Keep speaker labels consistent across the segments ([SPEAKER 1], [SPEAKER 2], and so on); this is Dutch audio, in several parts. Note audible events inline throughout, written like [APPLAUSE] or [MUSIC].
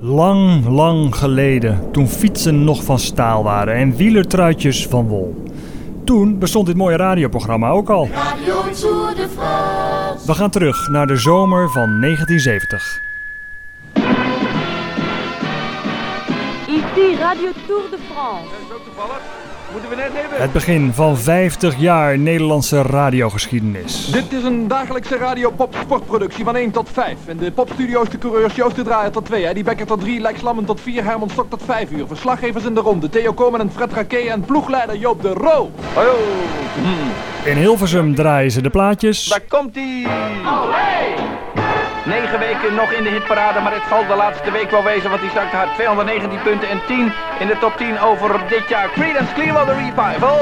[SPEAKER 1] Lang, lang geleden, toen fietsen nog van staal waren en wielertruitjes van wol. Toen bestond dit mooie radioprogramma ook al.
[SPEAKER 2] Radio Tour de France.
[SPEAKER 1] We gaan terug naar de zomer van 1970.
[SPEAKER 3] Ici Radio Tour de France.
[SPEAKER 4] Zo toevallig. Moeten we net hebben.
[SPEAKER 1] Het begin van 50 jaar Nederlandse radiogeschiedenis.
[SPEAKER 4] Dit is een dagelijkse radio pop sportproductie van 1 tot 5. In de popstudio's de coureurs Joost de Draaier tot 2, Eddie Becker tot 3, Lex Lammen tot 4, Herman Stok tot 5 uur. Verslaggevers in de ronde, Theo Komen en Fred Raquet en ploegleider Joop de Roo. Hallo.
[SPEAKER 1] In Hilversum draaien ze de plaatjes.
[SPEAKER 5] Daar komt ie! Negen weken nog in de hitparade, maar het zal de laatste week wel wezen, want die zakt hard 219 punten en 10 in de top 10 over dit jaar. Creedence Clearwater Revival!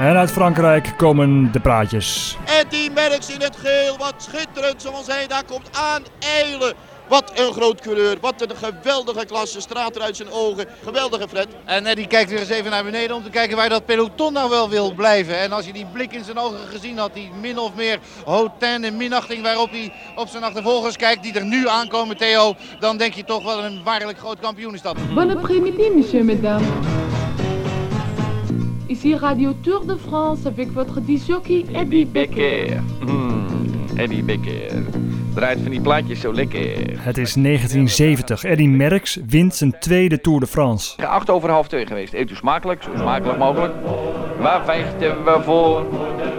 [SPEAKER 1] En uit Frankrijk komen de praatjes.
[SPEAKER 6] En die Merks in het geel, wat schitterend zoals hij daar komt aan eilen. Wat een groot coureur, wat een geweldige klasse, straat er uit zijn ogen. Geweldige Fred.
[SPEAKER 7] En Eddie kijkt weer eens even naar beneden om te kijken waar dat peloton nou wel wil blijven. En als je die blik in zijn ogen gezien had, die min of meer hotain en minachting waarop hij op zijn achtervolgers kijkt, die er nu aankomen, Theo, dan denk je toch wel een waarlijk groot kampioen is dat.
[SPEAKER 8] Bon après-midi, messieurs, mesdames. Ici Radio Tour de France avec votre disjockey Eddie Becker.
[SPEAKER 5] Hmm, Eddie Becker. Draait van die plaatjes zo lekker.
[SPEAKER 1] Het is 1970. Eddy Merckx wint zijn tweede Tour de France.
[SPEAKER 5] Acht over half twee geweest. Eet u smakelijk, zo smakelijk mogelijk. Waar vechten we voor?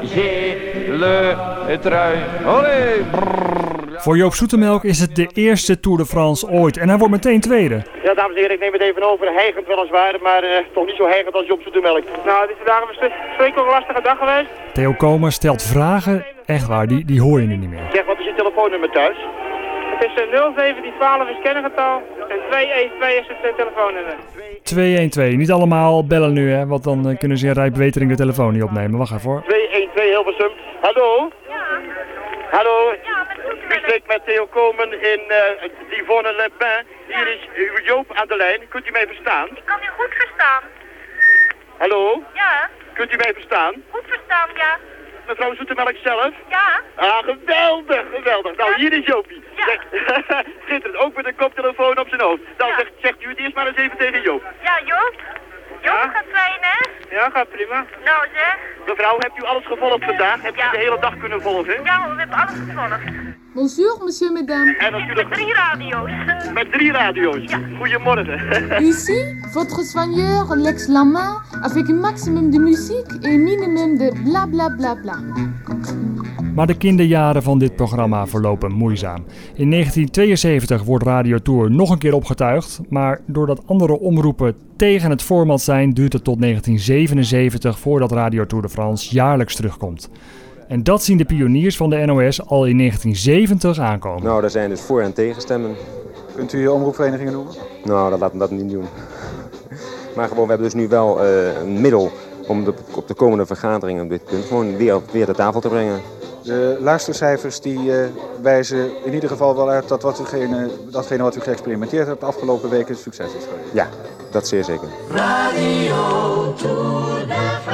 [SPEAKER 5] Gele trui. Olé!
[SPEAKER 1] Voor Joop Zoetemelk is het de eerste Tour de France ooit. En hij wordt meteen tweede.
[SPEAKER 9] Ja, dames en heren, ik neem het even over. Heigend weliswaar, maar eh, toch niet zo heigend als Job Zoetemelk. Nou, het is vandaag een stuk, twee keer een lastige dag geweest.
[SPEAKER 1] Theo Komen stelt vragen. Echt waar, die, die hoor je nu niet meer.
[SPEAKER 9] Zeg, wat is je telefoonnummer thuis?
[SPEAKER 8] Het is eh, 07, die 12 is kennengetal en 212 is het eh, telefoonnummer.
[SPEAKER 1] 212. Niet allemaal bellen nu, hè? Want dan eh, kunnen ze in rijbewetering de telefoon niet opnemen. Wacht even hoor.
[SPEAKER 9] 212 Hilversum. Hallo? Ja. Hallo?
[SPEAKER 3] Ja, met
[SPEAKER 9] Ik spreek met Theo Komen in eh Divonne Le Bain. Hier is uw Joop aan de lijn. Kunt u mij verstaan?
[SPEAKER 3] Ik kan u goed verstaan.
[SPEAKER 9] Hallo?
[SPEAKER 3] Ja,
[SPEAKER 9] Kunt u mij verstaan?
[SPEAKER 3] goed verstaan, ja.
[SPEAKER 9] Mevrouw Zoetemelk zelf?
[SPEAKER 3] Ja,
[SPEAKER 9] Ah, geweldig, geweldig. Nou, hier is Joopie.
[SPEAKER 3] Ja.
[SPEAKER 9] Zeg, [LAUGHS] Schitterend, ook met een koptelefoon op zijn hoofd. Nou,
[SPEAKER 3] Ja.
[SPEAKER 9] zegt, zegt u het eerst maar eens even tegen Joop.
[SPEAKER 3] ja, Joop. Joop gaat fijn, hè?
[SPEAKER 9] Ja, gaat prima.
[SPEAKER 3] Nou zeg.
[SPEAKER 9] Mevrouw, hebt u alles gevolgd vandaag? Hebt
[SPEAKER 3] Ja.
[SPEAKER 9] u de hele dag kunnen volgen?
[SPEAKER 3] Ja, hoor, we hebben alles gevolgd.
[SPEAKER 8] Bonjour, messieurs, mesdames.
[SPEAKER 9] En
[SPEAKER 3] Ik met
[SPEAKER 9] natuurlijk
[SPEAKER 3] drie radio's. eh.
[SPEAKER 9] met drie radio's. Goedemorgen.
[SPEAKER 8] Ici, votre soigneur Lex Lama avec un maximum de musique et un minimum de bla bla bla bla.
[SPEAKER 1] Maar de kinderjaren van dit programma verlopen moeizaam. In 1972 wordt Radio Tour nog een keer opgetuigd, maar doordat andere omroepen tegen het format zijn, duurt het tot 1977 voordat Radio Tour de France jaarlijks terugkomt. En dat zien de pioniers van de NOS al in 1970 aankomen.
[SPEAKER 10] Nou, daar zijn dus voor- en tegenstemmen.
[SPEAKER 11] Kunt u je omroepverenigingen noemen?
[SPEAKER 10] Nou, dat laten we dat niet doen. [LAUGHS] Maar gewoon, we hebben dus nu wel eh, een middel om de, op de komende vergadering op dit punt gewoon weer, weer de tafel te brengen.
[SPEAKER 11] De luistercijfers die eh, wijzen in ieder geval wel uit dat wat ugene, datgene wat u geëxperimenteerd hebt de afgelopen weken een succes is geweest.
[SPEAKER 10] Ja, dat zeer zeker.
[SPEAKER 2] Radio Tour de France.